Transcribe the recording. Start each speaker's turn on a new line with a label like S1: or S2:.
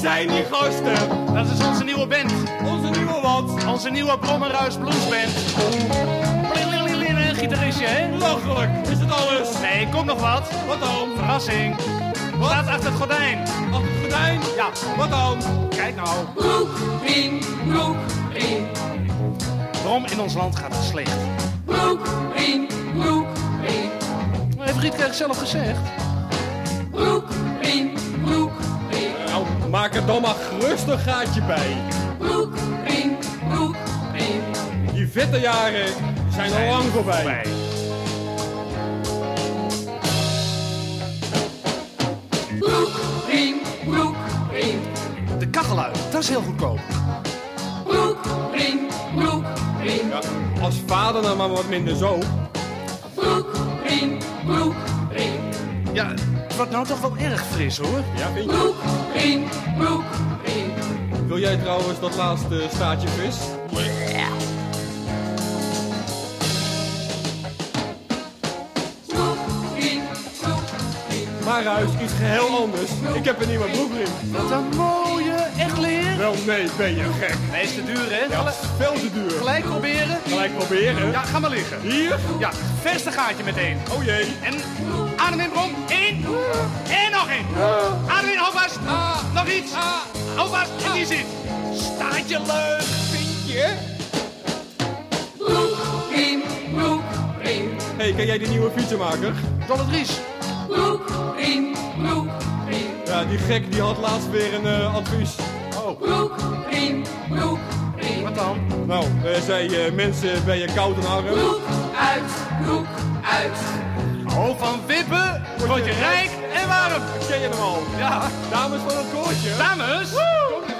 S1: zijn die gasten?
S2: Dat is onze nieuwe band.
S1: Onze nieuwe wat?
S2: Onze nieuwe Brommerhuis Bluesband. Plilililil, een Gitaristje, hè?
S1: Belachelijk. Is het alles?
S2: Nee, komt nog wat.
S1: Wat dan?
S2: Verrassing. Staat achter het gordijn.
S1: Achter het gordijn?
S2: Ja,
S1: Wat dan?
S2: kijk nou.
S3: Broek, riem, broek, riem.
S2: Brom in ons land gaat het slecht.
S3: Broek, riem, broek, riem.
S2: Maar heeft Rietkrijg zelf gezegd?
S3: Broek, riem, broek, riem.
S1: Nou, maak er dan maar gerust een gaatje bij.
S3: Broek, riem, broek, riem.
S1: Die vette jaren zijn al lang voorbij.
S3: Broek, riem, broek, riem.
S2: De kachelui, dat is heel goedkoop.
S3: Broek, riem, broek, riem.
S1: Ja, als vader nou maar wat minder zo.
S3: Broek, riem, broek, riem.
S2: Ja, het wordt nou toch wel erg fris, hoor.
S1: Ja, vind je?
S3: Broek, riem, broek, riem.
S1: Wil jij trouwens dat laatste staartje vis?
S3: Broek, riem, broek, riem.
S1: Maar huis iets geheel anders. Ik heb een nieuwe broekriem.
S2: Wat een mooie, echt leer.
S1: Wel nee, ben je gek.
S2: Nee, is te duur, hè?
S1: Ja, dat is veel te duur.
S2: Gelijk proberen.
S1: Gelijk proberen.
S2: Ja, ga maar liggen.
S1: Hier?
S2: Ja, verste gaatje meteen.
S1: Oh jee.
S2: En adem in, Brom. Eén. En nog één.
S1: Ah.
S2: Adem in, hou vast. Nog iets. Hou vast. En die zit. Staat je leuk.
S1: Vind je?
S3: Broek, riem, broek, riem.
S1: hey, ken jij die nieuwe fietsenmaker?
S2: Dolle Dries.
S3: Broek, riem, broek, riem.
S1: Ja, die gek die had laatst weer een eh, advies. Oh.
S3: Broek, riem, broek, riem.
S2: Wat dan?
S1: Nou, eh, zei eh, mensen ben je koud en arm.
S3: Broek uit, broek uit.
S2: Oh, van wippen word je rijk en warm.
S1: Ken je hem al?
S2: Ja,
S1: Dames van het koortje.
S2: dames. Kom